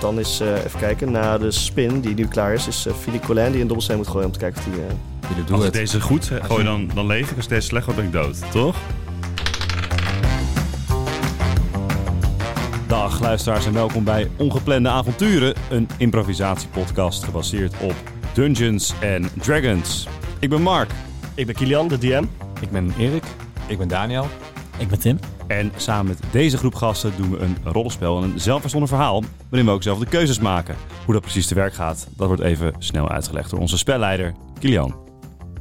Dan is eh, even kijken naar de spin die nu klaar is. Is eh Philippe Collin die een dobbelsteen moet gooien om te kijken of die... eh, Jullie doen Als ik het. deze goed gooi, dan, dan leef ik. Als ik deze slecht gooi, ben ik dood. Toch? Dag luisteraars en welkom bij Ongeplande Avonturen, een improvisatiepodcast gebaseerd op Dungeons and Dragons. Ik ben Mark Ik ben Kilian, de DM. Ik ben Erik. Ik ben Daniel. Ik ben Tim. en samen met deze groep gasten doen we een rollenspel en een zelfverzonnen verhaal waarin we ook zelf de keuzes maken. Hoe dat precies te werk gaat, dat wordt even snel uitgelegd door onze spelleider Kilian.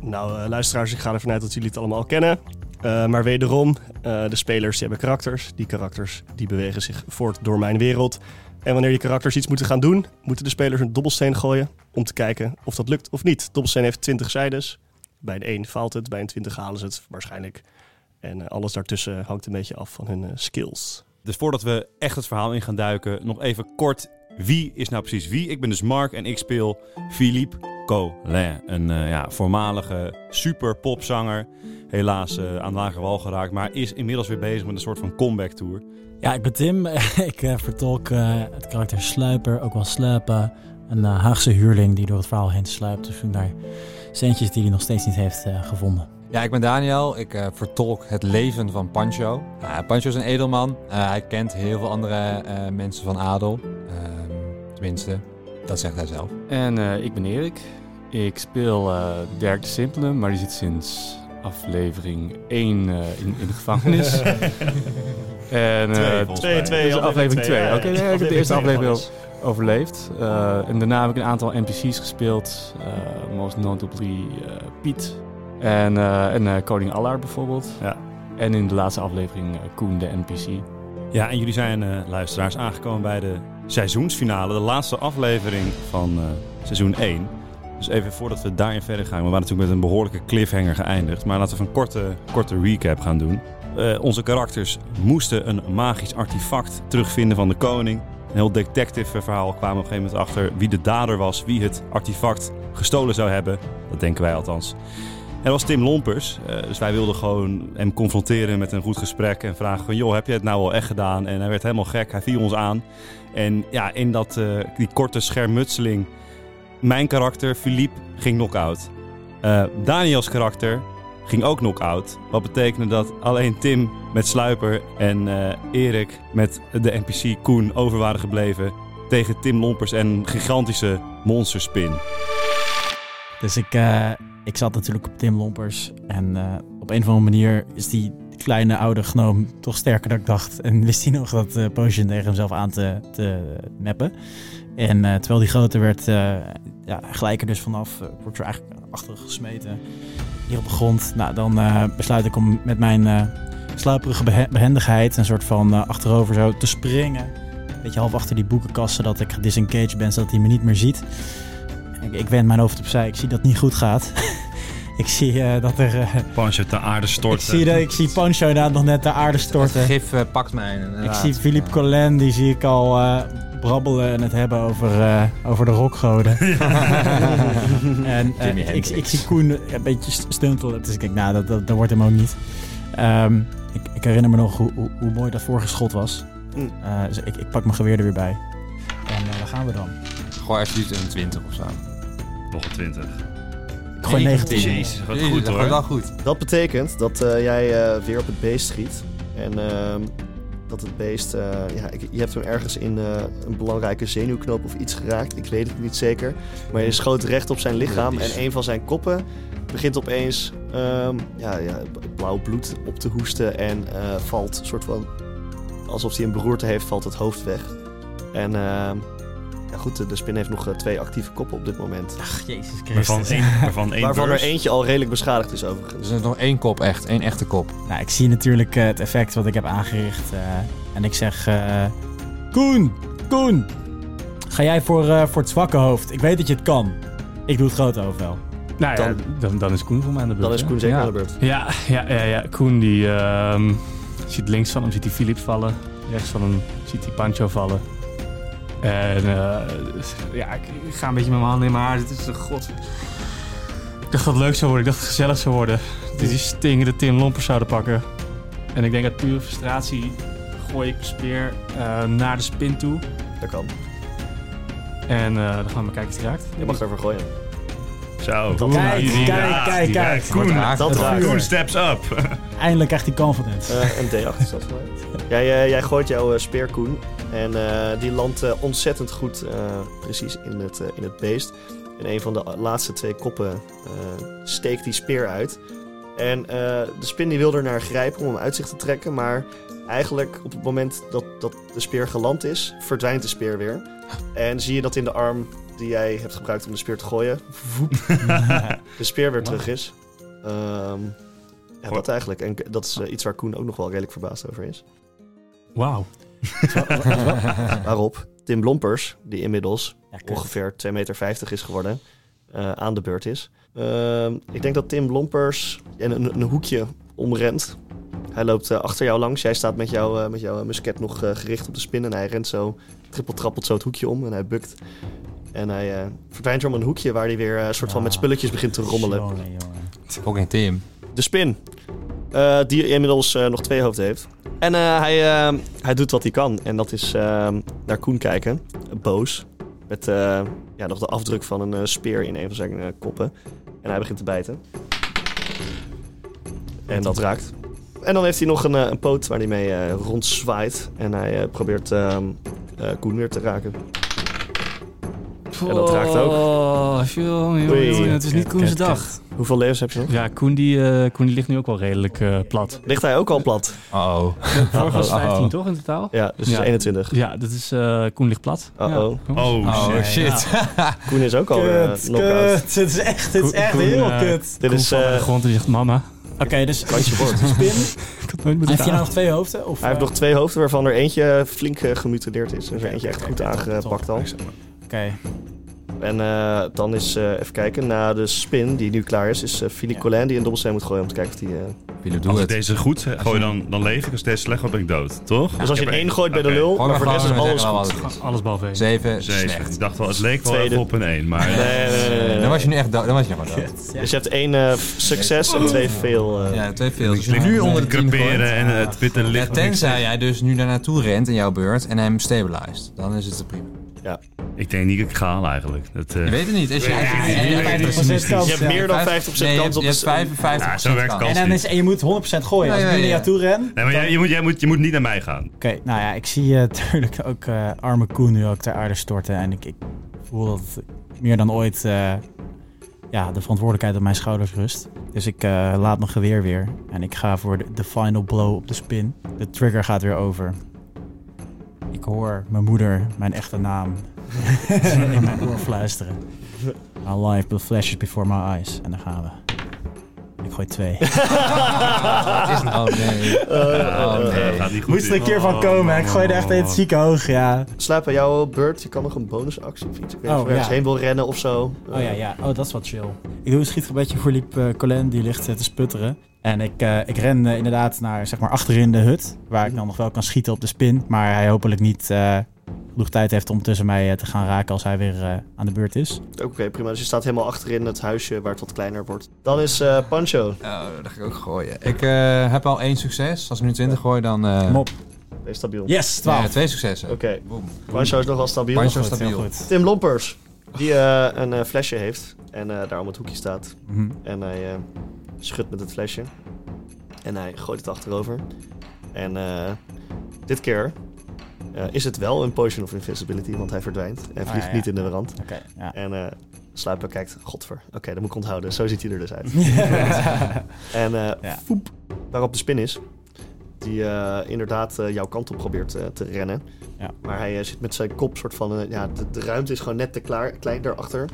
Nou, eh, luisteraars, ik ga ervan uit dat jullie het allemaal al kennen. Eh, maar wederom, eh, de spelers die hebben karakters. Die karakters die bewegen zich voort door mijn wereld. En wanneer die karakters iets moeten gaan doen, moeten de spelers een dobbelsteen gooien om te kijken of dat lukt of niet. Dobbelsteen heeft 20 zijdes. Bij een 1 faalt het, bij een 20 halen ze het waarschijnlijk. En eh, alles daartussen hangt een beetje af van hun eh, skills. Dus voordat we echt het verhaal in gaan duiken, nog even kort wie is nou precies wie? Ik ben dus Mark en ik speel Philippe Collin, een eh, ja, voormalige superpopzanger. Helaas eh, aan lager wal geraakt, maar is inmiddels weer bezig met een soort van comeback tour. Ja, ik ben Tim. ik eh, vertolk eh, het karakter Sluiper, ook wel Sluipen. Een eh, Haagse huurling die door het verhaal heen sluipt. Dus naar centjes die hij nog steeds niet heeft eh, gevonden. Ja, ik ben Daniel. Ik eh, vertolk het leven van Pancho. Nou, Pancho is een edelman. Eh, hij kent heel veel andere eh, mensen van adel. Ehm, tenminste, dat zegt hij zelf. En eh, ik ben Erik. Ik speel eh, Dirk de Simpele, maar die zit sinds aflevering 1 eh, in, in de gevangenis. en, eh, Twee, volgens mij. is aflevering twee. ja, ja. Oké, nee, ik heb de eerste twee aflevering van wel is. overleefd. Eh, en daarna heb ik een aantal NPC's gespeeld. eh, most notably eh, Piet. En, eh, en eh, Koning Allard bijvoorbeeld. Ja. En in de laatste aflevering eh, Koen, de NPC. Ja, en jullie zijn eh, luisteraars aangekomen bij de seizoensfinale, de laatste aflevering van eh, seizoen 1. Dus even voordat we daarin verder gaan, we waren natuurlijk met een behoorlijke cliffhanger geëindigd, maar laten we even een korte, korte recap gaan doen. Eh, onze karakters moesten een magisch artefact terugvinden van de koning. Een heel detective verhaal kwamen we op een gegeven moment achter wie de dader was, wie het artefact gestolen zou hebben. Dat denken wij althans. En dat was Tim Lompers. Eh, dus wij wilden gewoon hem confronteren met een goed gesprek. En vragen van, joh, heb je het nou al echt gedaan? En hij werd helemaal gek. Hij viel ons aan. En ja, in dat, eh, die korte schermutseling... Mijn karakter, Philippe, ging knock-out. Eh, Daniels karakter ging ook knock-out. Wat betekende dat alleen Tim met Sluiper en eh, Erik met de NPC Koen over waren gebleven... tegen Tim Lompers en een gigantische monsterspin. Dus ik, eh, ik zat natuurlijk op Tim Lompers. En eh, op een of andere manier is die kleine oude gnoom toch sterker dan ik dacht. En wist hij nog dat eh potion tegen hemzelf aan te, te mappen. En eh, terwijl die groter werd, eh, ja, gelijk er dus vanaf, eh, wordt er eigenlijk achter gesmeten. Hier op de grond. Nou, dan eh, besluit ik om met mijn eh, sluiperige behe- behendigheid een soort van eh, achterover zo te springen. Een beetje half achter die boekenkast, zodat ik gedisengaged ben, zodat hij me niet meer ziet. Ik, ik wend mijn hoofd opzij. Ik zie dat het niet goed gaat. ik zie eh, dat er. eh, Pancho te aarde ik, storten. zie dat, ik zie Pancho inderdaad nog net de aarde storten. Het gif eh, pakt mij. Ik inderdaad. zie Philippe Collin, die zie ik al eh, brabbelen en het hebben over, eh, over de rokgoden. en eh, Jimi ik, Hendrix. ik zie Koen een beetje st- stuntelen. Dus ik denk, nou, dat, dat, dat wordt hem ook niet. Ehm, ik, ik herinner me nog hoe, hoe, hoe mooi dat vorige schot was. Mm. Eh, dus ik, ik pak mijn geweer er weer bij. En eh, daar gaan we dan. Gooi alsjeblieft een 20 of zo. Nog een 20. Ik gooi 19. Jezus, wat goed, dat hoor. gaat wel goed. Dat betekent dat eh, jij eh, weer op het beest schiet. En ehm, dat het beest, eh, ja, ik- je hebt hem ergens in eh, een belangrijke zenuwknoop of iets geraakt. Ik weet het niet zeker. Maar je schoot recht op zijn lichaam Dat is- en een van zijn koppen begint opeens ehm, ja, ja, b- blauw bloed op te hoesten. En eh, valt soort van, alsof hij een beroerte heeft, valt het hoofd weg. En ehm, ja, goed, de, de spin heeft nog eh, twee actieve koppen op dit moment. Ach, Jezus Waarvan Christus. één, waarvan één waarvan beurs. er eentje al redelijk beschadigd is overigens. Dus er is nog één kop echt. één echte kop. Nou, ik zie natuurlijk eh, het effect wat ik heb aangericht. eh, en ik zeg... eh, Koen! Koen! Ga jij voor, eh, voor het zwakke hoofd. Ik weet dat je het kan. Ik doe het grote hoofd wel. Nou ja, Dan- dan, dan is Koen voor mij aan de beurt. Dan is hè? Koen zeker Ja. aan de beurt. Ja, ja, ja, ja. Koen die ehm, ziet links van hem ziet hij Philip vallen. Rechts van hem ziet hij Pancho vallen. En eh, ja, ik, ik ga een beetje met mijn handen in mijn haar zitten. Het is een god. Ik dacht dat het leuk zou worden. Ik dacht dat het gezellig zou worden. Dus die stingende Tim Lompers zouden pakken. En ik denk uit pure frustratie gooi ik de speer eh, naar de spin toe. Dat kan. En eh, dan gaan we kijken of hij raakt. Je mag ervoor gooien. Zo. Kijk, Die kijk, raakt, kijk, die kijk. raakt. Wordt raakt. dat Het raakt. Koen steps up. Eindelijk krijgt hij confidence. Eh, een D8 is dat voor mij. Jij, eh, jij gooit jouw eh, speer, Koen. En eh, die landt eh, ontzettend goed eh, precies in het, eh, in het beest. En een van de laatste twee koppen eh, steekt die speer uit. En eh, de spin die wil er naar grijpen om hem uit zich te trekken. Maar eigenlijk op het moment dat, dat de speer geland is, verdwijnt de speer weer. En zie je dat in de arm die jij hebt gebruikt om de speer te gooien, voep, de speer weer terug is. Ehm, ja, dat eigenlijk. En k- dat is eh, iets waar Koen ook nog wel redelijk verbaasd over is. Wauw. Waarop Tim Blompers, die inmiddels Ja, kut. ongeveer 2,50 meter is geworden, eh, aan de beurt is. Ehm, ik denk dat Tim Blompers in een, een hoekje omrent. Hij loopt eh, achter jou langs. Jij staat met, jou, eh, met jouw musket nog eh, gericht op de spin. En hij rent zo, trippeltrappelt zo het hoekje om. En hij bukt. En hij eh, verdwijnt weer om een hoekje waar hij weer eh, soort van met Ah. spulletjes begint te rommelen. Jongen, jongen. Fucking Tim. De spin. Eh, die inmiddels eh, nog twee hoofden heeft. En eh, hij, eh, hij doet wat hij kan. En dat is eh, naar Koen kijken. Boos. Met eh, ja, nog de afdruk van een eh, speer in een van zijn eh, koppen. En hij begint te bijten. En dat raakt. En dan heeft hij nog een, eh, een poot waar hij mee eh, rondzwaait. En hij eh, probeert ehm, eh, Koen weer te raken. En dat raakt ook. Oh, jongen, jongen, Oei. jongen, het is niet Kut, Koen's kut, kut. dag. Hoeveel levens heb je nog? Ja, Koen die, eh, Koen die ligt nu ook wel redelijk eh, plat. Ligt hij ook al plat? Oh. Vorig was het Oh, oh. 15 toch in totaal? Ja, dus het is Ja. 21. Ja, dat is eh, Koen ligt plat. Ja, Uh-oh. jongens. Oh, Oh shit. shit. Koen is ook al eh Kut, knock-out. kut. Dit is echt, dit is Koen- echt Koen, heel eh, kut. Dit Koen is... valt naar de eh grond en die zegt mama. Oké, dus kantje bord. spin. Ik had nooit Heeft moeten je nou nou... nog twee hoofden? Of, Hij heeft eh, nog twee hoofden waarvan er eentje flink eh, gemutileerd is. Dus er Oké, eentje echt oké, goed oké, top, aangepakt top. al. Oké, En eh, dan is, eh, even kijken, na de spin die nu klaar is, is eh Philly Ja. Collin die een dobbelsteen moet gooien om te kijken of die... eh, Philip, Als doe ik het. deze goed gooi, dan, dan leef ik. Als deze slecht gooi, ben ik dood. Toch? dus als je Ik een heb één gooit bij de Oké. lul, Gewoon maar voor de rest is gewoon alles zeggen goed. wat het is. Alles behalve één. Zeven, Zeven. slecht. Ik dacht wel, het leek wel Tweede. even op een 1. Maar eh, Nee, nee, nee, nee, nee. Dan was je nu echt dood. Dan was je nog maar dood. Dus je hebt één eh, f- succes en twee veel. eh. Ja, twee veel. Dus ligt nu onder de tien creperen gooit. en het witte Ja, licht. tenzij jij dus nu daar naartoe rent in jouw beurt en hem stabilized. Dan is het prima. Ik denk niet dat ik ga halen eigenlijk. Dat, eh, Je weet het niet. Is je eigenlijk- ja, je ja, hebt ja, 50% vijf- Je kans. hebt ja. meer dan 50% nee, je hebt- kans op Je de hebt s- 55 Ja, zo werkt kans. kans. En, dan is, en je moet 100% gooien. Als Ja, ik ja, nu naar ja. jou toe ren... Nee, maar jij, je moet, jij, moet, je moet niet naar mij gaan. Oké, nou ja, ik zie natuurlijk ook eh, arme Koen nu ook ter aarde storten. En ik, ik voel dat meer dan ooit eh, ja, de verantwoordelijkheid op mijn schouders rust. Dus ik eh, laat mijn geweer weer. En ik ga voor de, de final blow op de spin. De trigger gaat weer over. Ik hoor mijn moeder, mijn echte naam, in mijn oor fluisteren. My life flashes before my eyes. En daar gaan we. Ik gooi twee. Het is- Oh nee. Eh, Oh Ah, Dat eh, nee. gaat niet goed. Moest er in. een keer van komen. hè. Ik gooi er echt in het zieke hoog, ja. Sluit bij jouw beurt, je kan nog een bonusactie of iets. Ik weet niet of Oh, je ergens ja. heen wil rennen of zo. Oh ja, ja. Oh, dat is wat chill. Ik doe een schietgebedje voor Liep eh Colin, die ligt eh, te sputteren. En ik, eh, ik ren eh, inderdaad naar, zeg maar, achterin de hut. Waar ik dan nog wel kan schieten op de spin. Maar hij hopelijk niet eh, genoeg tijd heeft om tussen mij eh, te gaan raken als hij weer eh, aan de beurt is. Oké, prima. Dus je staat helemaal achterin het huisje waar het wat kleiner wordt. Dan is eh, Pancho. Oh, dat ga ik ook gooien. Ik eh, heb al één succes. Als ik nu 20 gooi, dan... eh, Kom op. Wees stabiel. Yes, nee, 12. twee successen. Oké, Boom. Pancho is nog wel stabiel. Pancho Goed, heel stabiel. goed. Tim Lompers, die eh, een eh, flesje heeft en eh, daar om het hoekje staat. Mhm. En hij eh, schudt met het flesje. En hij gooit het achterover. En eh, dit keer eh, is het wel een potion of invisibility, want hij verdwijnt. En Ah, vliegt ja. niet in de rand. Oké, ja. En eh Sluiper kijkt, godver. Oké, dat moet ik onthouden. Zo ziet hij er dus uit. en eh Ja. foep, waarop de spin is. Die eh, inderdaad eh, jouw kant op probeert eh, te rennen. Ja. Maar hij eh, zit met zijn kop soort van... eh, ja, de, de ruimte is gewoon net te klaar, klein daarachter.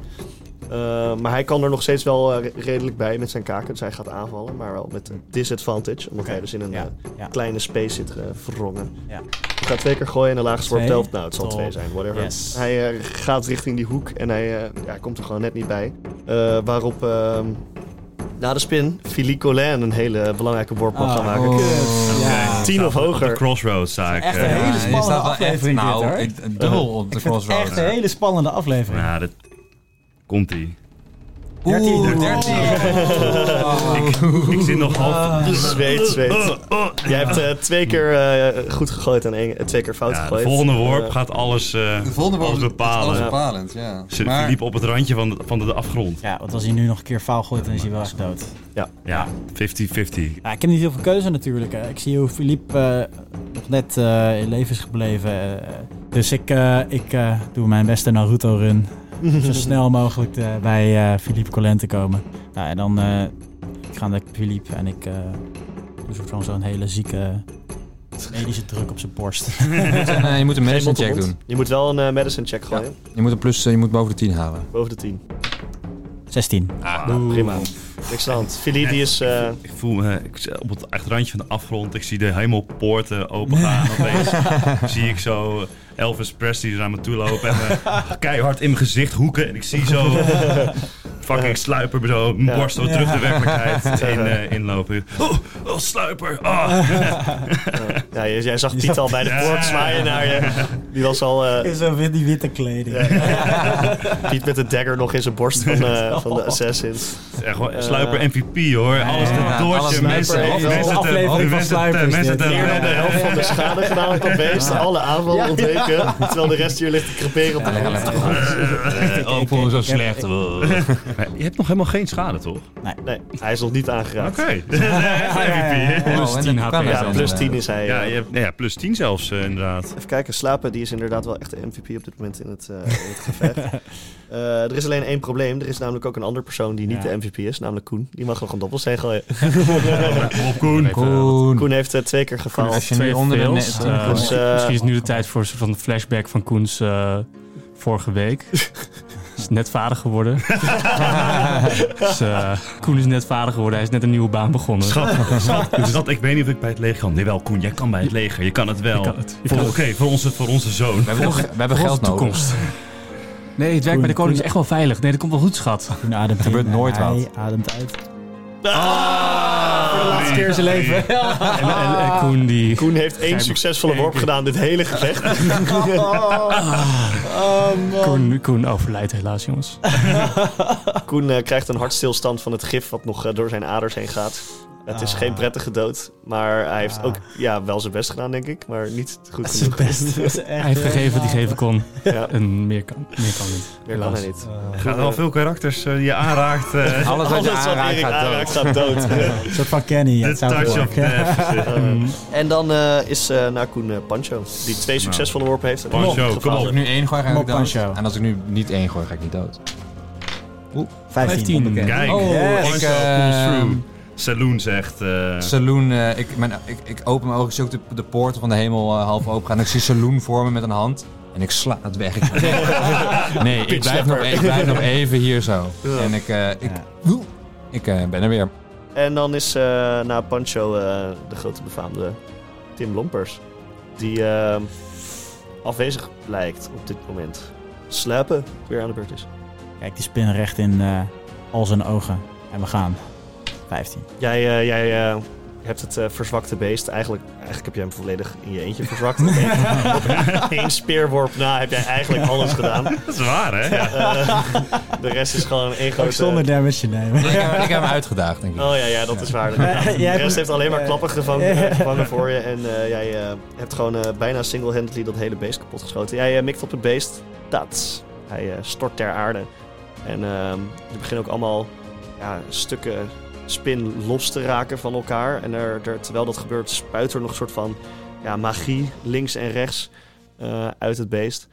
Eh, maar hij kan er nog steeds wel eh, re- redelijk bij met zijn kaken. Dus hij gaat aanvallen, maar wel met een disadvantage. Omdat Oké, hij dus in een ja, eh, ja. kleine space zit eh, verrongen. Ja. Ik ga twee keer gooien en de laagste worp Twee. telt. Nou, het zal Top. twee zijn, whatever. Yes. Hij eh, gaat richting die hoek en hij eh, ja, komt er gewoon net niet bij. Eh, waarop ehm, na de spin Philippe Collin een hele belangrijke worp mag gaan maken. Oh, Tien kut. Ja. Oké. 10 of Op de hoger. crossroads, zei ik. Echt een eh. hele je staat spannende wel aflevering echt, dit, nou, hoor. ik- dubbel op de Ik vind het crossroads. echt een hele spannende aflevering. Ja, dat komt ie. Oeh, 13. Ik zit nog half... Ah. Oh, Zweet, zweet. Jij hebt eh, twee keer eh, goed gegooid en één, eh, twee keer fout Ja, de gegooid. volgende worp Eh, gaat alles, eh De volgende was alles bepalend. bepalen. bepalend, ja. Ze Maar liep op het randje van de, van de afgrond. Ja, want als hij nu nog een keer faal gooit, dan is hij wel echt dood. Ja, 50-50. Ja, ik heb niet heel veel keuze natuurlijk. hè. Ik zie hoe Philippe eh, nog net eh, in leven is gebleven. eh. dus ik, eh, ik eh, doe mijn beste Naruto-run. om zo snel mogelijk eh, bij eh Philippe Collin te komen. Nou, en dan eh, ik ga naar Philippe en ik eh, doe een soort van zo'n hele zieke medische druk op zijn borst. Eh, je moet een geen medicine mond op check mond. doen. Je moet wel een eh, medicine check gooien. Je moet een plus, eh, je moet boven de 10 halen. Boven de 10. 16. Ah. Prima. Niks aan de hand. Philly die is... eh, Ah. Ik voel me ik zit op het echt randje van de afgrond. Ik zie de hemelpoorten opengaan. Opeens zie ik zo Elvis Presley naar me toe lopen. En me keihard in mijn gezicht hoeken. En ik zie zo fucking sluiper met zo mijn Ja. borst zo terug de werkelijkheid in, eh, inlopen. Oh, oh, sluiper. Ah. ja, jij, jij zag Piet al bij de poort zwaaien naar je. Die was al... eh, Is zo wit die witte kleding. Piet met de dagger nog in zijn borst van, eh, van de assassins. Het is echt wel- sluiper MVP hoor. Alles Eh. ja, ten alles doortje. Mensen Sluiper. mensen Wel ten- aflevering van mensen ten- Sluiper is mensen dit. ten- Meer dan de helft van de schade gedaan kan beest. Alle aanvallen ontweken. Terwijl de rest hier ligt te creperen op de grond. Oh, ik voel me zo slecht. Maar Je hebt nog helemaal geen schade, toch? Nee, hij is nog niet aangeraakt. Oké. MVP. Plus 10 HP Ja, plus 10 is hij. Ja, eh, je hebt, nou ja, plus 10 zelfs eh, inderdaad. Even kijken, slapen die is inderdaad wel echt de MVP op dit moment in het, eh, in het gevecht. Eh, er is alleen één probleem. Er is namelijk ook een andere persoon die niet Ja. de MVP is, namelijk Koen. Die mag nog een dobbelsteen gooien. Op Koen. Koen. Koen heeft eh, twee keer gefaald. Als je nu onder de fails. net... Eh, Dus, eh, misschien is nu de tijd voor een soort van flashback van Koens eh, vorige week. is net vader geworden. dus, eh, Koen is net vader geworden. Hij is net een nieuwe baan begonnen. Schat, schat, schat, ik weet niet of ik bij het leger kan. Nee, wel, Koen, jij kan bij het leger. Je kan het wel. Je kan het. Je Voor- kan Oké, het. voor, onze, voor onze zoon. We hebben, nog- we hebben geld nodig. toekomst. Nee, het werk bij de koning is echt wel veilig. Nee, dat komt wel goed, schat. Toen ademt hij gebeurt in en nooit hij wat. ademt uit. Ah! laatste keer zijn leven. En, en, en Koen die... Koen heeft één succesvolle worp gedaan dit hele gevecht. Koen, Koen overlijdt helaas, jongens. Koen eh, krijgt een hartstilstand van het gif wat nog eh, door zijn aders heen gaat. Het is Ah. geen prettige dood, maar hij heeft ook Ah. ja, wel zijn best gedaan, denk ik. Maar niet goed Dat is het genoeg. beste. Dat is echt Hij heeft heel gegeven wat hij raar. geven kon. Ja. En meer kan, meer kan niet. Meer kan hij niet. Eh, Goed, Er gaan wel eh, veel karakters eh, die je aanraakt. eh Alles wat je Alles wat aanraakt Erik gaat dood. aanraakt gaat dood. Een soort van Kenny. de het zou touch of werken. death. Eh, en dan eh, is eh naar Koen eh, Pancho, die twee succesvolle worpen heeft. en Nou, Pancho, nog kom gefaald Als op. ik nu één gooi, ga Kom ik op, dood. Pancho. En als ik nu niet één gooi, ga ik niet dood. 15. Oké. Kijk, Oh, yes. yes. ik, Ik, eh, through. Saloon zegt... eh, Saloon, eh, ik, mijn, ik, ik open mijn ogen, ik zie ook de, de poorten van de hemel eh, half open gaan. En ik zie Saloon voor me met een hand. En ik sla het weg. Ik- nee, ik blijf, nog, e- ik blijf nog even hier zo. En ik, eh, ik, Oeh. ik eh, ben er weer. En dan is eh, na Pancho eh, de grote befaamde Tim Lompers. Die eh, afwezig lijkt op dit moment. Slapen weer aan de beurt is. Kijk, die spin recht in eh, al zijn ogen. En we gaan. 15. Jij, eh, jij eh, hebt het eh, verzwakte beest. Eigenlijk, eigenlijk heb jij hem volledig in je eentje verzwakt. Op één- op één speerworp na heb jij eigenlijk alles gedaan. dat is waar, hè? Ja. Eh, de rest is gewoon één grote... Ook Eh, zonder damage te nemen. Ik, heb- ik heb hem uitgedaagd, denk ik. Oh ja, ja dat is waar. Eh, jij De hebt- rest heeft alleen maar eh, klappen gevangen, eh, eh, gevangen voor je. En eh, jij eh, hebt gewoon eh, bijna single-handedly dat hele beest kapot geschoten. Jij eh, mikt op het beest. Dat. Hij eh, stort ter aarde. En ehm er beginnen ook allemaal ja, stukken spin los te raken van elkaar. En er, er- terwijl dat gebeurt, spuit er nog een soort van ja, magie links en rechts eh, uit het beest.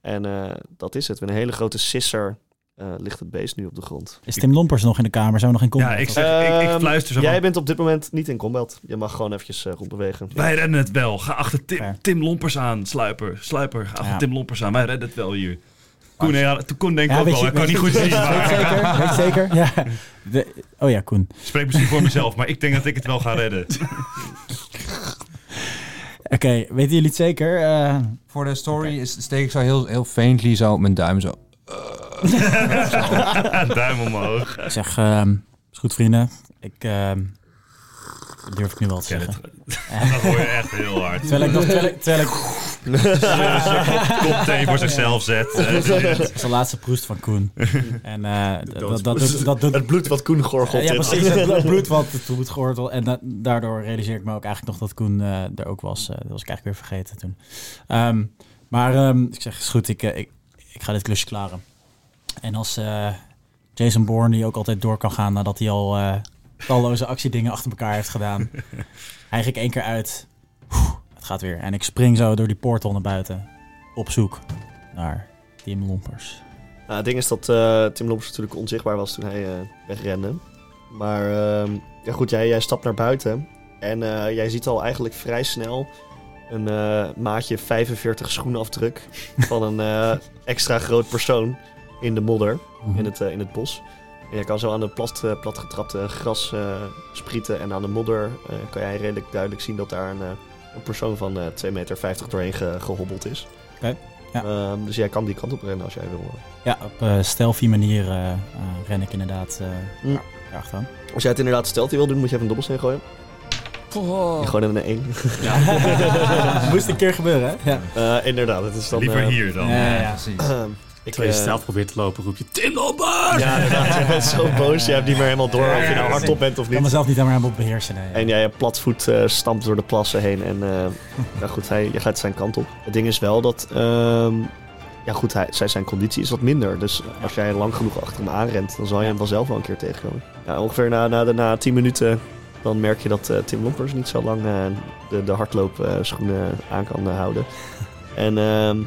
En eh, dat is het. Met een hele grote sisser eh, ligt het beest nu op de grond. Is Tim Lompers nog in de kamer? Zijn we nog in ja, contact? ik, zeg, ik, ik Ehm, fluister zo Jij van, bent op dit moment niet in combat. Je mag gewoon eventjes eh, rondbewegen. Wij redden het wel. Ga achter Tim, Fair. Tim Lompers aan, sluiper. Sluiper, ga achter Ja. Tim Lompers aan. Wij redden het wel hier. Koen, ja, Koen denkt Ja, ook weet wel. je- Hij kan weet niet je- goed zien. maar- Weet zeker? Weet zeker? Ja. De- oh ja, Koen. Ik spreek misschien voor mezelf, maar ik denk dat ik het wel ga redden. Oké, weten jullie het zeker? Eh, Voor de story is, steek ik zo heel, heel faintly zo mijn duim zo. Duim omhoog. ik zeg, ehm, is goed vrienden. Ik ehm, durf ik nu wel te Ja, zeggen. Dat hoor je echt heel hard. Terwijl ik nog, terwijl ik, terwijl ik, kopthee voor zichzelf zet. eh, Dat is de laatste proest van Koen. En eh, dat, dat, dat, dat doet... Het bloed wat Koen gorgelt. Ja, in. precies. Het blo- bloed wat het bloed gehoord al. En da- daardoor realiseer ik me ook eigenlijk nog dat Koen eh, er ook was. Eh, dat was ik eigenlijk weer vergeten toen. Ehm, maar ehm, ik zeg, is goed, ik, eh, ik, ik ga dit klusje klaren. En als eh, Jason Bourne, die ook altijd door kan gaan nadat hij al eh, talloze actiedingen achter elkaar heeft gedaan. Hijg ik één keer uit. Oeh, het gaat weer. En ik spring zo door die portal naar buiten. Op zoek naar Tim Lompers. Nou, het ding is dat eh, Tim Lompers natuurlijk onzichtbaar was toen hij eh, wegrende. Maar ehm, ja, goed, jij, jij stapt naar buiten. En eh, jij ziet al eigenlijk vrij snel een eh, maatje 45 schoenafdruk van een eh, extra groot persoon in de modder in het, eh, in het bos. En je kan zo aan de plat, eh, platgetrapte gras eh, sprieten en aan de modder eh, kan jij redelijk duidelijk zien dat daar een, eh, een persoon van eh 2,50 meter doorheen ge- gehobbeld is. Oké, ja. Ehm, dus jij kan die kant op rennen als jij wil. Ja, op eh stealthy manier eh, eh, ren ik inderdaad eh Hm. ja, erachteraan. Als jij het inderdaad stelt die wil doen, moet je even een dobbelsteen gooien. Je gooit in een 1. Moest een keer gebeuren, hè? Ja. Eh, inderdaad, het is dan... Liever eh, hier dan. Ja, ja, Ja, ja. precies. ehm, ik, Terwijl je eh, zelf probeert te lopen, roep je Tim Lombard! Ja, inderdaad. Je bent zo boos. Je hebt niet meer helemaal door of je nou hardop bent of Ik kan niet. mezelf niet helemaal helemaal beheersen. Nee. En jij platvoet eh, stampt door de plassen heen. En eh, ja, goed, hij, je gaat zijn kant op. Het ding is wel dat... ehm, ja goed, hij, zij- zijn conditie is wat minder. Dus als jij lang genoeg achter hem aanrent, dan zal je hem wel zelf wel een keer tegenkomen. Ja, ongeveer na, na, de- na 10 minuten... Dan merk je dat eh, Tim Lompers niet zo lang eh, de, de hardloopschoenen aan kan eh, houden. En ehm,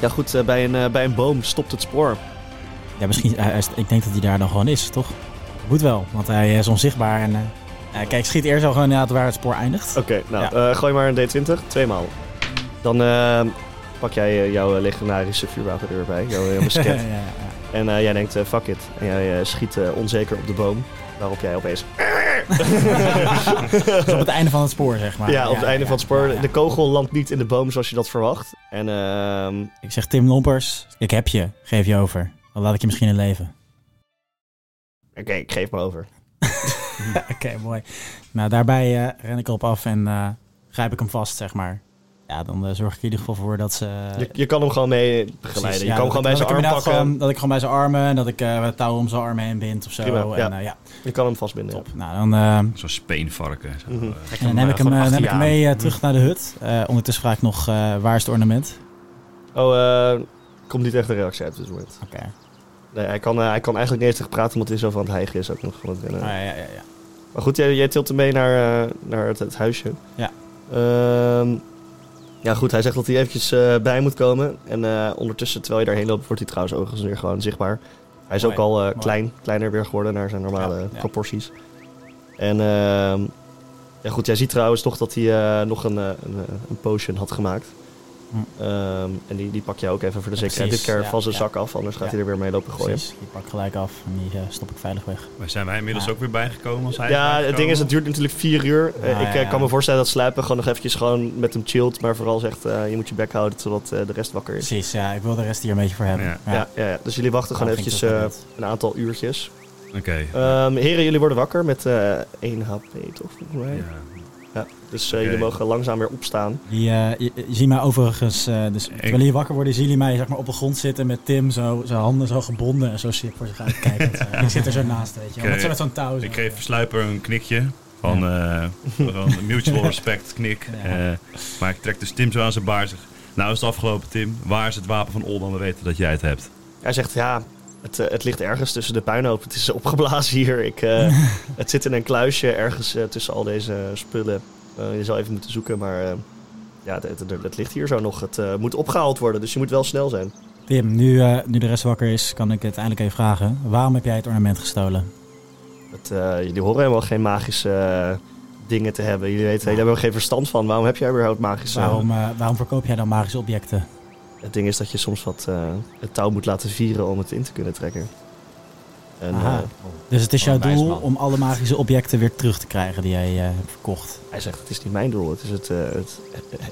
ja goed, eh, bij, een, eh, bij een boom stopt het spoor. Ja, misschien, hij- hij is- ik denk dat hij daar dan gewoon is, toch? Moet wel, want hij is onzichtbaar. En, eh, eh, kijk, schiet eerst al gewoon inderdaad waar het spoor eindigt. Oké, nou, eh, gooi maar een D20. Tweemaal. Dan eh, pak jij eh, jouw legendarische vuurwapen erbij. Jouw, eh, ja, musket. ja, ja. en eh, jij denkt, eh, fuck it. En jij eh, schiet eh, onzeker op de boom. Waarop jij opeens... Dus op het einde van het spoor, zeg maar. ja, op het einde Ah, van ja, het spoor. ja, ja. De kogel landt niet in de boom zoals je dat verwacht. En ehm, Ik zeg, Tim Lompers, ik heb je. Geef je over. Dan laat ik je misschien in leven. oké, ik geef me over. Oké, mooi. Nou, daarbij eh, ren ik op af en eh, grijp ik hem vast, zeg maar. Ja, dan eh, zorg ik in ieder geval voor dat ze... Je, je kan hem gewoon mee begeleiden. Eh. Precies, je ja, kan hem dat gewoon ik- bij zijn dat arm ik hem pakken. inderdaad gewoon- dat ik gewoon bij zijn armen en dat ik eh het touw om zijn armen heen bind of zo. Prima, en, ja. eh, ja, Je kan hem vastbinden. top. Nou, dan, eh, Zo'n speenvarken. zo, Mhm. eh. en dan neem ik hem, gewoon eh, achter neem je ik hem aan. mee Hm. eh, terug naar de hut. Eh, ondertussen vraag ik nog, eh, waar is het ornament? Oh, eh, komt niet echt een reactie uit op dit moment. Oké. Nee, hij kan, eh, hij kan eigenlijk niet eens tegen praten, omdat hij zo van het hijgen is. Ook nog van het rennen. Ah, ja, ja, ja. Maar goed, jij, jij tilt hem mee naar, eh, naar het, het huisje. Ja. Ehm, ja, goed, hij zegt dat hij eventjes eh, bij moet komen. En eh, ondertussen, terwijl je daarheen loopt, wordt hij trouwens overigens weer gewoon zichtbaar. Hij is Mooi, ook al eh, mooi. klein, kleiner weer geworden naar zijn normale Ja, ja. proporties. En ehm, ja, goed, jij ziet trouwens nog dat hij eh, nog een, eh, een, eh, een potion had gemaakt. Hm. Ehm, en die, die pak je ook even voor de Ja, zekerheid. precies, Dit keer ja, van zijn ja. zak af, anders gaat Ja. hij er weer mee lopen gooien. Precies, die pak ik gelijk af en die eh, stop ik veilig weg. Maar zijn wij inmiddels Ja. ook weer bijgekomen? Als hij Ja, bijgekomen? het ding is, het duurt natuurlijk vier uur. Eh, Ja, ik eh, ja. kan me voorstellen dat Sluipen gewoon nog eventjes gewoon met hem chillt. Maar vooral zegt, eh, je moet je bek houden totdat eh, de rest wakker is. Precies, ja, ik wil de rest hier een beetje voor hebben. Ja. Ja. Ja, ja, dus jullie wachten gewoon Dan ging eventjes het eh, ook wel een aantal uurtjes. Oké. Ehm, heren, jullie worden wakker met eh 1 HP, toch? Volgens mij. Ja. Dus eh, Oké. jullie mogen langzaam weer opstaan. Die, eh, je, je ziet mij overigens, eh, dus terwijl jullie wakker worden, zien jullie mij zeg maar, op de grond zitten met Tim, zo, zijn handen zo gebonden en zo zie ik voor zich uit kijken. ik zit er zo naast, weet je. Oké. wel, Met zo met zo'n touw. zo. Ik geef Sluiper een knikje. Van, eh, van mutual respect knik. Ja. Eh, maar ik trek dus Tim zo aan zijn baard. Zeg, nou is het afgelopen, Tim. Waar is het wapen van Oldan? We weten dat jij het hebt. Hij zegt, ja, het, eh, het ligt ergens tussen de puinhoop. Het is opgeblazen hier. Ik, eh, het zit in een kluisje ergens eh, tussen al deze spullen. Eh, je zal even moeten zoeken, maar eh, ja, het, het- het ligt hier zo nog. Het eh, moet opgehaald worden, dus je moet wel snel zijn. Tim, nu, eh, nu de rest wakker is, kan ik het eindelijk even vragen. Waarom heb jij het ornament gestolen? Het, eh, jullie horen helemaal geen magische eh, dingen te hebben. Jullie weten, jullie hebben er geen verstand van. Waarom heb jij überhaupt magische... Waarom, eh, waarom verkoop jij dan magische objecten? Het ding is dat je soms wat eh, het touw moet laten vieren om het in te kunnen trekken. En, Aha. eh, Dus het is Oh, Wat jouw een wijs doel man. om alle magische objecten weer terug te krijgen die jij eh, hebt verkocht. hij zegt, het is niet mijn doel. Het, is het, eh, het,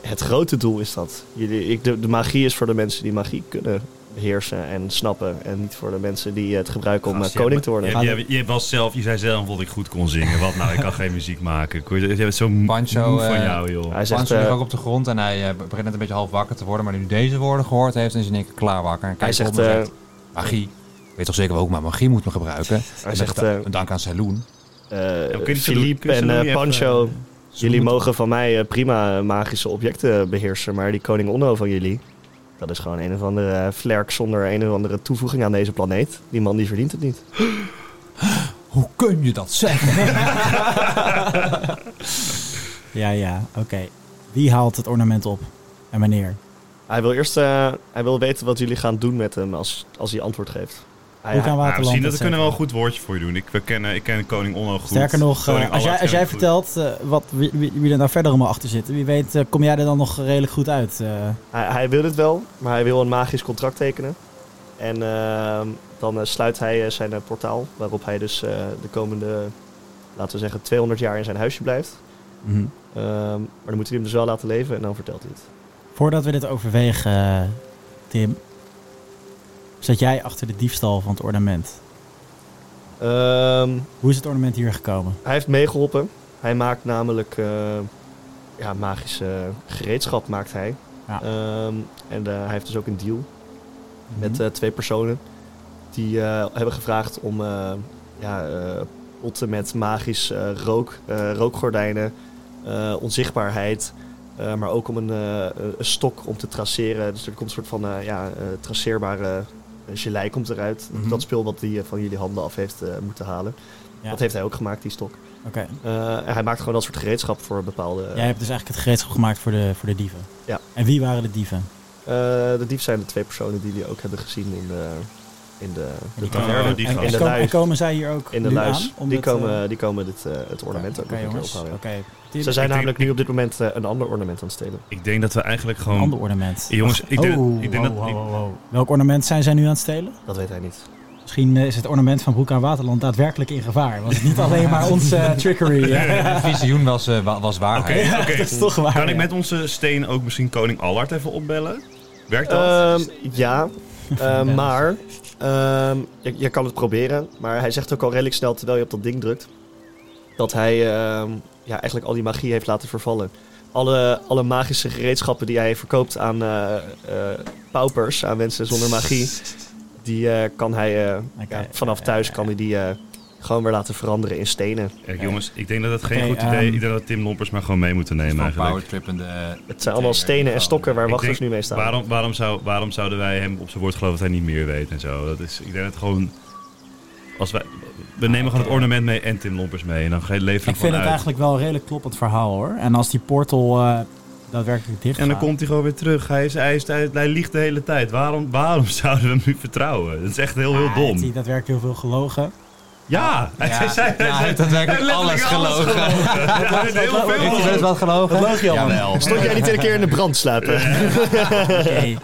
het grote doel is dat. Jullie, ik, de, de magie is voor de mensen die magie kunnen. Ik heersen en snappen. En niet voor de mensen die het gebruiken om eh, Gast, jij- koning te worden. Je, je, je was zelf, je zei zelf dat ik goed kon zingen. Wat nou, ik kan geen muziek maken. Kon Je je bent zo moe Pancho, van eh, jou, joh. Nou, Hij zegt, Pancho ligt eh, ook op de grond en hij eh, begint net een beetje half wakker te worden. Maar nu hij deze woorden gehoord heeft, is hij in één keer klaar wakker. En hij kijkt zegt, op en eh, zegt, magie. Ik Weet toch zeker wel ook, maar magie moet me gebruiken. En hij met zegt da- eh, een dank aan Saloon. eh, kun je ze doen? Philippe Kun je ze en doen? eh, Die Pancho, even, jullie mogen van mij eh, prima eh, magische objecten beheersen, maar die koning Onno van jullie, dat is gewoon een of andere eh, vlerk zonder een of andere toevoeging aan deze planeet. Die man die verdient het niet. Hoe kun je dat zeggen? Ja, ja, oké. Wie haalt het ornament op? En wanneer? Hij wil eerst eh, hij wil weten wat jullie gaan doen met hem als, als hij antwoord geeft. Hij, Hoe kan Nou, we Waterland zien dat we het zeggen? kunnen wel een goed woordje voor je doen. Ik, we kennen, ik ken koning Onno goed. Sterker nog, eh, Koning als jij, Allard als ken jij ik goed. vertelt eh, wat, wie, wie- wie er nou verder allemaal achter zit, wie weet eh, kom jij er dan nog redelijk goed uit. eh. Hij, hij wil het wel, maar hij wil een magisch contract tekenen. En ehm, dan eh, sluit hij eh, zijn eh, portaal, waarop hij dus eh, de komende, laten we zeggen, 200 jaar in zijn huisje blijft. Mhm. Ehm, maar dan moet hij hem dus wel laten leven en dan vertelt hij het. Voordat we dit overwegen, eh, Tim, zat jij achter de diefstal van het ornament. Ehm, Hoe is het ornament hier gekomen? hij heeft meegeholpen. Hij maakt namelijk eh, ja, magische gereedschap. Maakt hij. Ja. Mhm. Ehm, en eh, hij heeft dus ook een deal met eh, twee personen. Die eh, hebben gevraagd om eh, ja, eh, potten met magisch eh, rook, eh, rookgordijnen, eh, onzichtbaarheid. eh, maar ook om een, eh, eh, een stok om te traceren. Dus er komt een soort van eh, ja, eh, traceerbare eh, gelei komt eruit. Mhm. Dat spul wat hij eh, van jullie handen af heeft eh, moeten halen. Ja. Dat heeft hij ook gemaakt, die stok. Oké. Eh, en hij maakt gewoon dat soort gereedschap voor bepaalde... jij hebt dus eigenlijk het gereedschap gemaakt voor de, voor de dieven. Ja. En wie waren de dieven? Eh, de dief zijn de twee personen die jullie ook hebben gezien in de, in de, de komen- taverne. Oh, die en, gaan- in de en komen, luis. en komen zij hier ook In de nu luis. aan? om die, het, eh, komen, die komen dit, eh, het ornament Oké, ook nog een keer jongens. ophalen. Oké. ja. Tim, Ze zijn Ik denk- namelijk nu op dit moment eh, een ander ornament aan het stelen. Ik denk dat we eigenlijk een gewoon... ander ornament. Jongens, ik denk, Oh, ik denk dat... ik- Welk ornament zijn zij nu aan het stelen? Dat weet hij niet. Misschien eh, is het ornament van Broek aan Waterland daadwerkelijk in gevaar. Want het is niet alleen maar onze eh, trickery. hè. Het visioen was, eh, wa- was Oké, waarheid. oké. Dat is toch waar. Kan ik ja. met onze steen ook misschien koning Allard even opbellen? Werkt dat? Ehm, ja, eh, maar ehm, je, je kan het proberen. Maar hij zegt ook al redelijk snel, terwijl je op dat ding drukt, dat hij ehm, ja, eigenlijk al die magie heeft laten vervallen. Alle, alle magische gereedschappen die hij verkoopt aan eh, eh, paupers, aan mensen zonder magie, die eh, kan hij eh, Oké, ja, vanaf ja, thuis ja, kan hij die eh, gewoon weer laten veranderen in stenen. Kijk, jongens, ik denk dat dat geen Oké, goed idee is. ehm, Ik denk dat Tim Lompers maar gewoon mee moeten Een nemen eigenlijk. powertrip en de... Het zijn allemaal stenen en stokken waar Ik wachters dus nu denk, mee staan. Waarom, waarom, zou, waarom zouden wij hem op zijn woord geloven dat hij niet meer weet en zo? Dat is, ik denk dat gewoon... Als wij, we nemen gewoon het ornament mee en Tim Lompers mee. En dan ge- leveren we Ik vind gewoon het uit. eigenlijk wel een redelijk kloppend verhaal hoor. En als die portal eh, daadwerkelijk dicht En dan gaat, komt hij gewoon weer terug. Hij, is, hij, is, hij, hij liegt de hele tijd. Waarom, waarom zouden we hem nu vertrouwen? Dat is echt heel, heel Ah, heeft hij dom. daadwerkelijk heel veel gelogen. Ja, hij zei- zei- hij zei- dat werkt hij heeft alles letterlijk alles gelogen. gelogen. Hij heeft heel veel Heeft hij wel eens wat gelogen? Dat loog je allemaal. Jawel. Stond jij niet een keer in de brand slapen? Oké. Nee,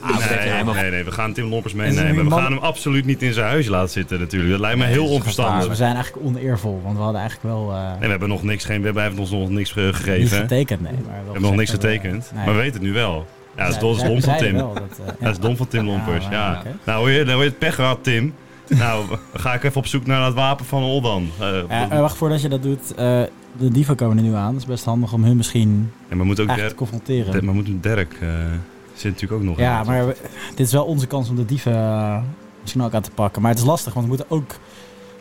nee, nee, we gaan Tim Lompers Is er meenemen. een We man- gaan hem absoluut niet in zijn huis laten zitten natuurlijk. Dat lijkt me heel Dus we onverstandig. zijn eigenlijk oneervol, want we hadden eigenlijk wel eh, En we hebben nog niks, geen, we hebben hij heeft ons nog niks eh, niet gegeven. hè? We getekend. Nee, maar wel hebben nog niks gezegd dat we- getekend, nee. maar we weten het nu wel. Ja, dat is, Zij- dat is zij- dom van zij Tim. wel dat, eh, Dat is dom van Tim Lompers, Ja, ja. oké. Nou, hoor je, nou, hoor je het pech gehad, Tim. Nou, ga ik even op zoek naar dat wapen van Oldan. Eh, Eh, eh, wacht, voordat je dat doet, eh, de dieven komen er nu aan. Het is best handig om hun misschien en we moeten ook echt te Dirk, confronteren. maar we moeten Dirk, eh, zit natuurlijk ook nog Ja, in. maar we- dit is wel onze kans om de dieven eh, misschien ook aan te pakken. Maar het is lastig, want we moeten ook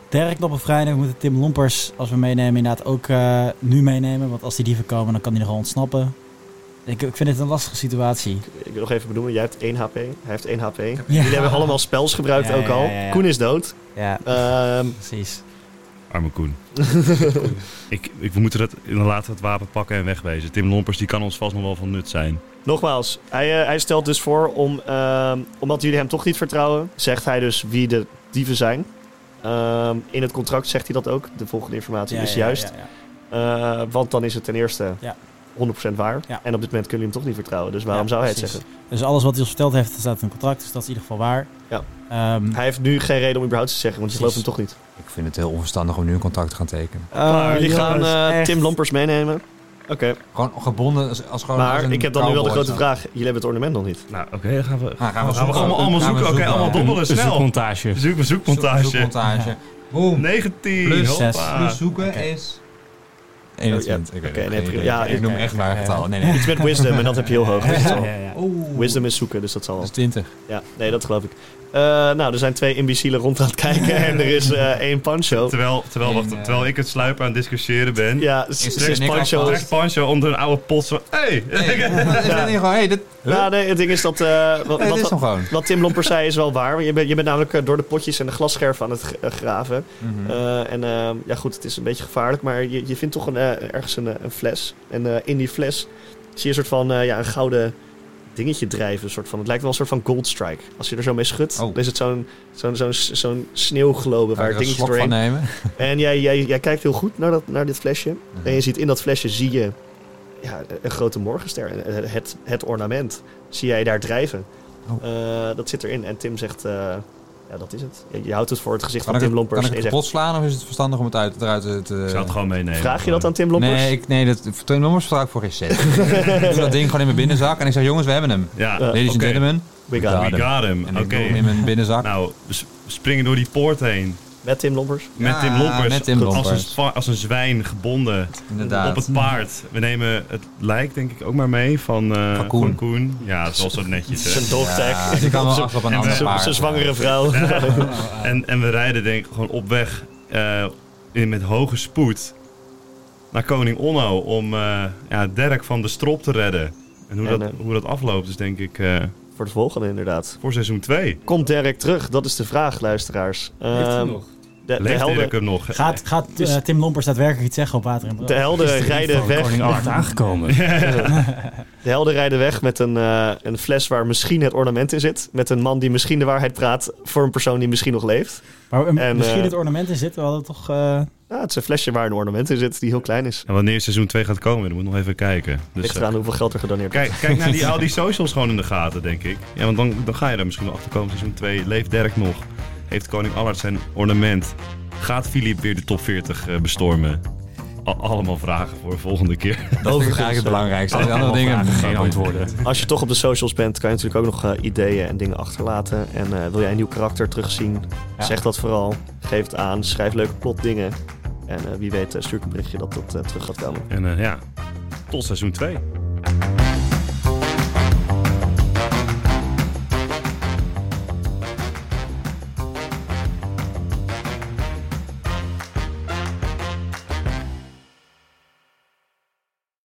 Dirk nog bevrijden. We moeten Tim Lompers, als we meenemen, inderdaad ook eh, nu meenemen. Want als die dieven komen, dan kan hij nogal ontsnappen. Ik, ik vind dit een lastige situatie. Ik wil nog even benoemen, jij hebt 1 HP, hij heeft 1 HP. Ja. Jullie hebben allemaal spels gebruikt Ja, ook ja, al. ja, ja. Koen is dood. Ja, Ehm, precies. Arme Koen. ik, ik, we moeten dat, dan laten we het wapen pakken en wegwezen. Tim Lompers die kan ons vast nog wel van nut zijn. nogmaals, hij, eh, hij stelt dus voor om, ehm, omdat jullie hem toch niet vertrouwen, zegt hij dus wie de dieven zijn. Ehm, in het contract zegt hij dat ook. De volgende informatie Ja, is ja, dus juist. ja, ja. Eh, want dan is het ten eerste Ja. 100% waar. Ja. En op dit moment kunnen jullie hem toch niet vertrouwen. Dus waarom Ja, zou hij het precies. zeggen? Dus alles wat hij ons verteld heeft, staat in het contract. Dus dat is in ieder geval waar. Ja. Ehm, Hij heeft nu geen reden om überhaupt te zeggen, want je gelooft hem Precies. toch niet. Ah, Ik vind het heel onverstandig om nu een contract te gaan tekenen. jullie jongens, gaan eh, echt. Tim Lompers meenemen. Oké, Gewoon gebonden als, als gewoon als maar Oh, een ik heb dan nu wel de cowboy grote zo. vraag. Jullie hebben het ornament nog niet. Nou, oké, dan gaan we... Ah, gaan we Gaan we zoeken. allemaal, allemaal Gaan we zoeken? Oké, eh, allemaal zoeken. dobbelen, Een snel. zoekmontage. Zoek, Zoek- zoekmontage. Zoekmontage. Boom. 19, Plus hoppa. zes. Plus zoeken is... 21. Ik weet Oh, Oké, het nee, geen prima. idee. Ja, ik noem echt waar getallen. Nee, nee. Iets met wisdom en dat heb je heel hoog. dus dat zal. Oeh. Wisdom is zoeken, dus dat zal Dat wel. is 20. Ja, nee, dat geloof ik. Eh, nou, er zijn twee imbecielen rond aan het kijken en er is eh één Pancho. Terwijl, terwijl, En, wacht, eh, terwijl ik het sluipen aan het discussiëren ben, Ja, Is s- er is niks Pancho... afgehaald? trekt Pancho onder een oude pot zo... Hey. Hey, ja. gewoon, hey, dit, Nou, nee, het ding is dat... eh, wat, nee, dit is wat, hem gewoon. wat Tim Lomper zei is wel waar. Je bent, je bent namelijk eh, door de potjes en de glasscherven aan het g- eh, graven. Mhm. Eh, en eh, ja, goed, het is een beetje gevaarlijk, maar je, je vindt toch een, eh, ergens een, eh, een fles. En eh, in die fles zie je een soort van eh, ja, een gouden dingetje drijven. Een soort van. Het lijkt wel een soort van gold strike. Als je er zo mee schudt, Oh. dan is het zo'n zo'n zo'n zo'n sneeuwglobe Daar waar een het dingetje slok van doorheen. nemen. En jij, jij, jij kijkt heel goed naar, dat, naar dit flesje. Mhm. En je ziet in dat flesje zie je ja, een grote morgenster. Eh, Het, het ornament zie jij daar drijven. Oh. Eh, dat zit erin. En Tim zegt, eh, ja, dat is het. Je, je houdt het voor het gezicht Kan van ik, Tim het- kan Lompers. ik En je het zegt, kapot slaan of is het verstandig om het uit, eruit te... Ik zou het gewoon meenemen. Vraag je dat aan Tim Lompers? Nee, ik, nee dat, Tim Lompers vertrouw ik voor geen cent. ik doe dat ding gewoon in mijn binnenzak en ik zeg, jongens, we hebben hem. Ja, Eh, Ladies and oké. gentlemen. We Ja. got it. We got him. En Oké. ik doe hem in mijn binnenzak. Nou, s- springen door die poort heen. Met Tim Lompers. Met Ja, Tim Lompers. Met Tim Als een, Lompers, zwa- als een zwijn gebonden inderdaad. op het paard. We nemen het lijk denk ik ook maar mee van, eh Van Koen. van Koen. Ja, dat is wel zo netjes. hè. Zijn dochter. Ja, die kan wel af op een en ander we- paard. Zijn zwangere vrouw. En, en we rijden denk ik gewoon op weg eh, in, met hoge spoed naar Koning Onno om eh, ja, Dirk van de strop te redden. En hoe, En, dat, eh, hoe dat afloopt is denk ik eh, Voor het volgende inderdaad. voor seizoen 2. Komt Derek terug? Dat is de vraag, luisteraars. Ehm, de, de Leeft Dirk helden, hem nog? Gaat, gaat eh, Tim Lompers daadwerkelijk iets zeggen op water en brood? Dus- de helden rijden weg. Koning Art aangekomen. De helden rijden weg met een, eh, een fles waar misschien het ornament in zit. Met een man die misschien de waarheid praat voor een persoon die misschien nog leeft. Maar eh, En, misschien eh, het ornament in zitten, we hadden toch... eh, Ja, het is een flesje waar een ornament in zit die heel klein is. En wanneer seizoen 2 gaat komen, dat moet ik nog even kijken. Dus, Ligt eh, eraan hoeveel geld er gedoneerd wordt. Kijk, kijk naar die, al die socials gewoon in de gaten, denk ik. Ja, want dan, dan ga je daar misschien wel achter komen. Seizoen 2, leeft Dirk nog? Heeft koning Allard zijn ornament? Gaat Filip weer de top 40 eh, bestormen? Al- allemaal vragen voor de volgende keer. Dat vind ik eh, eigenlijk het belangrijkste. Die andere dingen... Geen antwoorden. Als je toch op de socials bent, kan je natuurlijk ook nog eh, ideeën en dingen achterlaten. En eh, wil jij een nieuw karakter terugzien? Ja. Zeg dat vooral. Geef het aan. Schrijf leuke plotdingen. En eh, eh, wie weet eh, stuur ik een berichtje dat dat eh, terug gaat komen. En eh, ja, tot seizoen 2.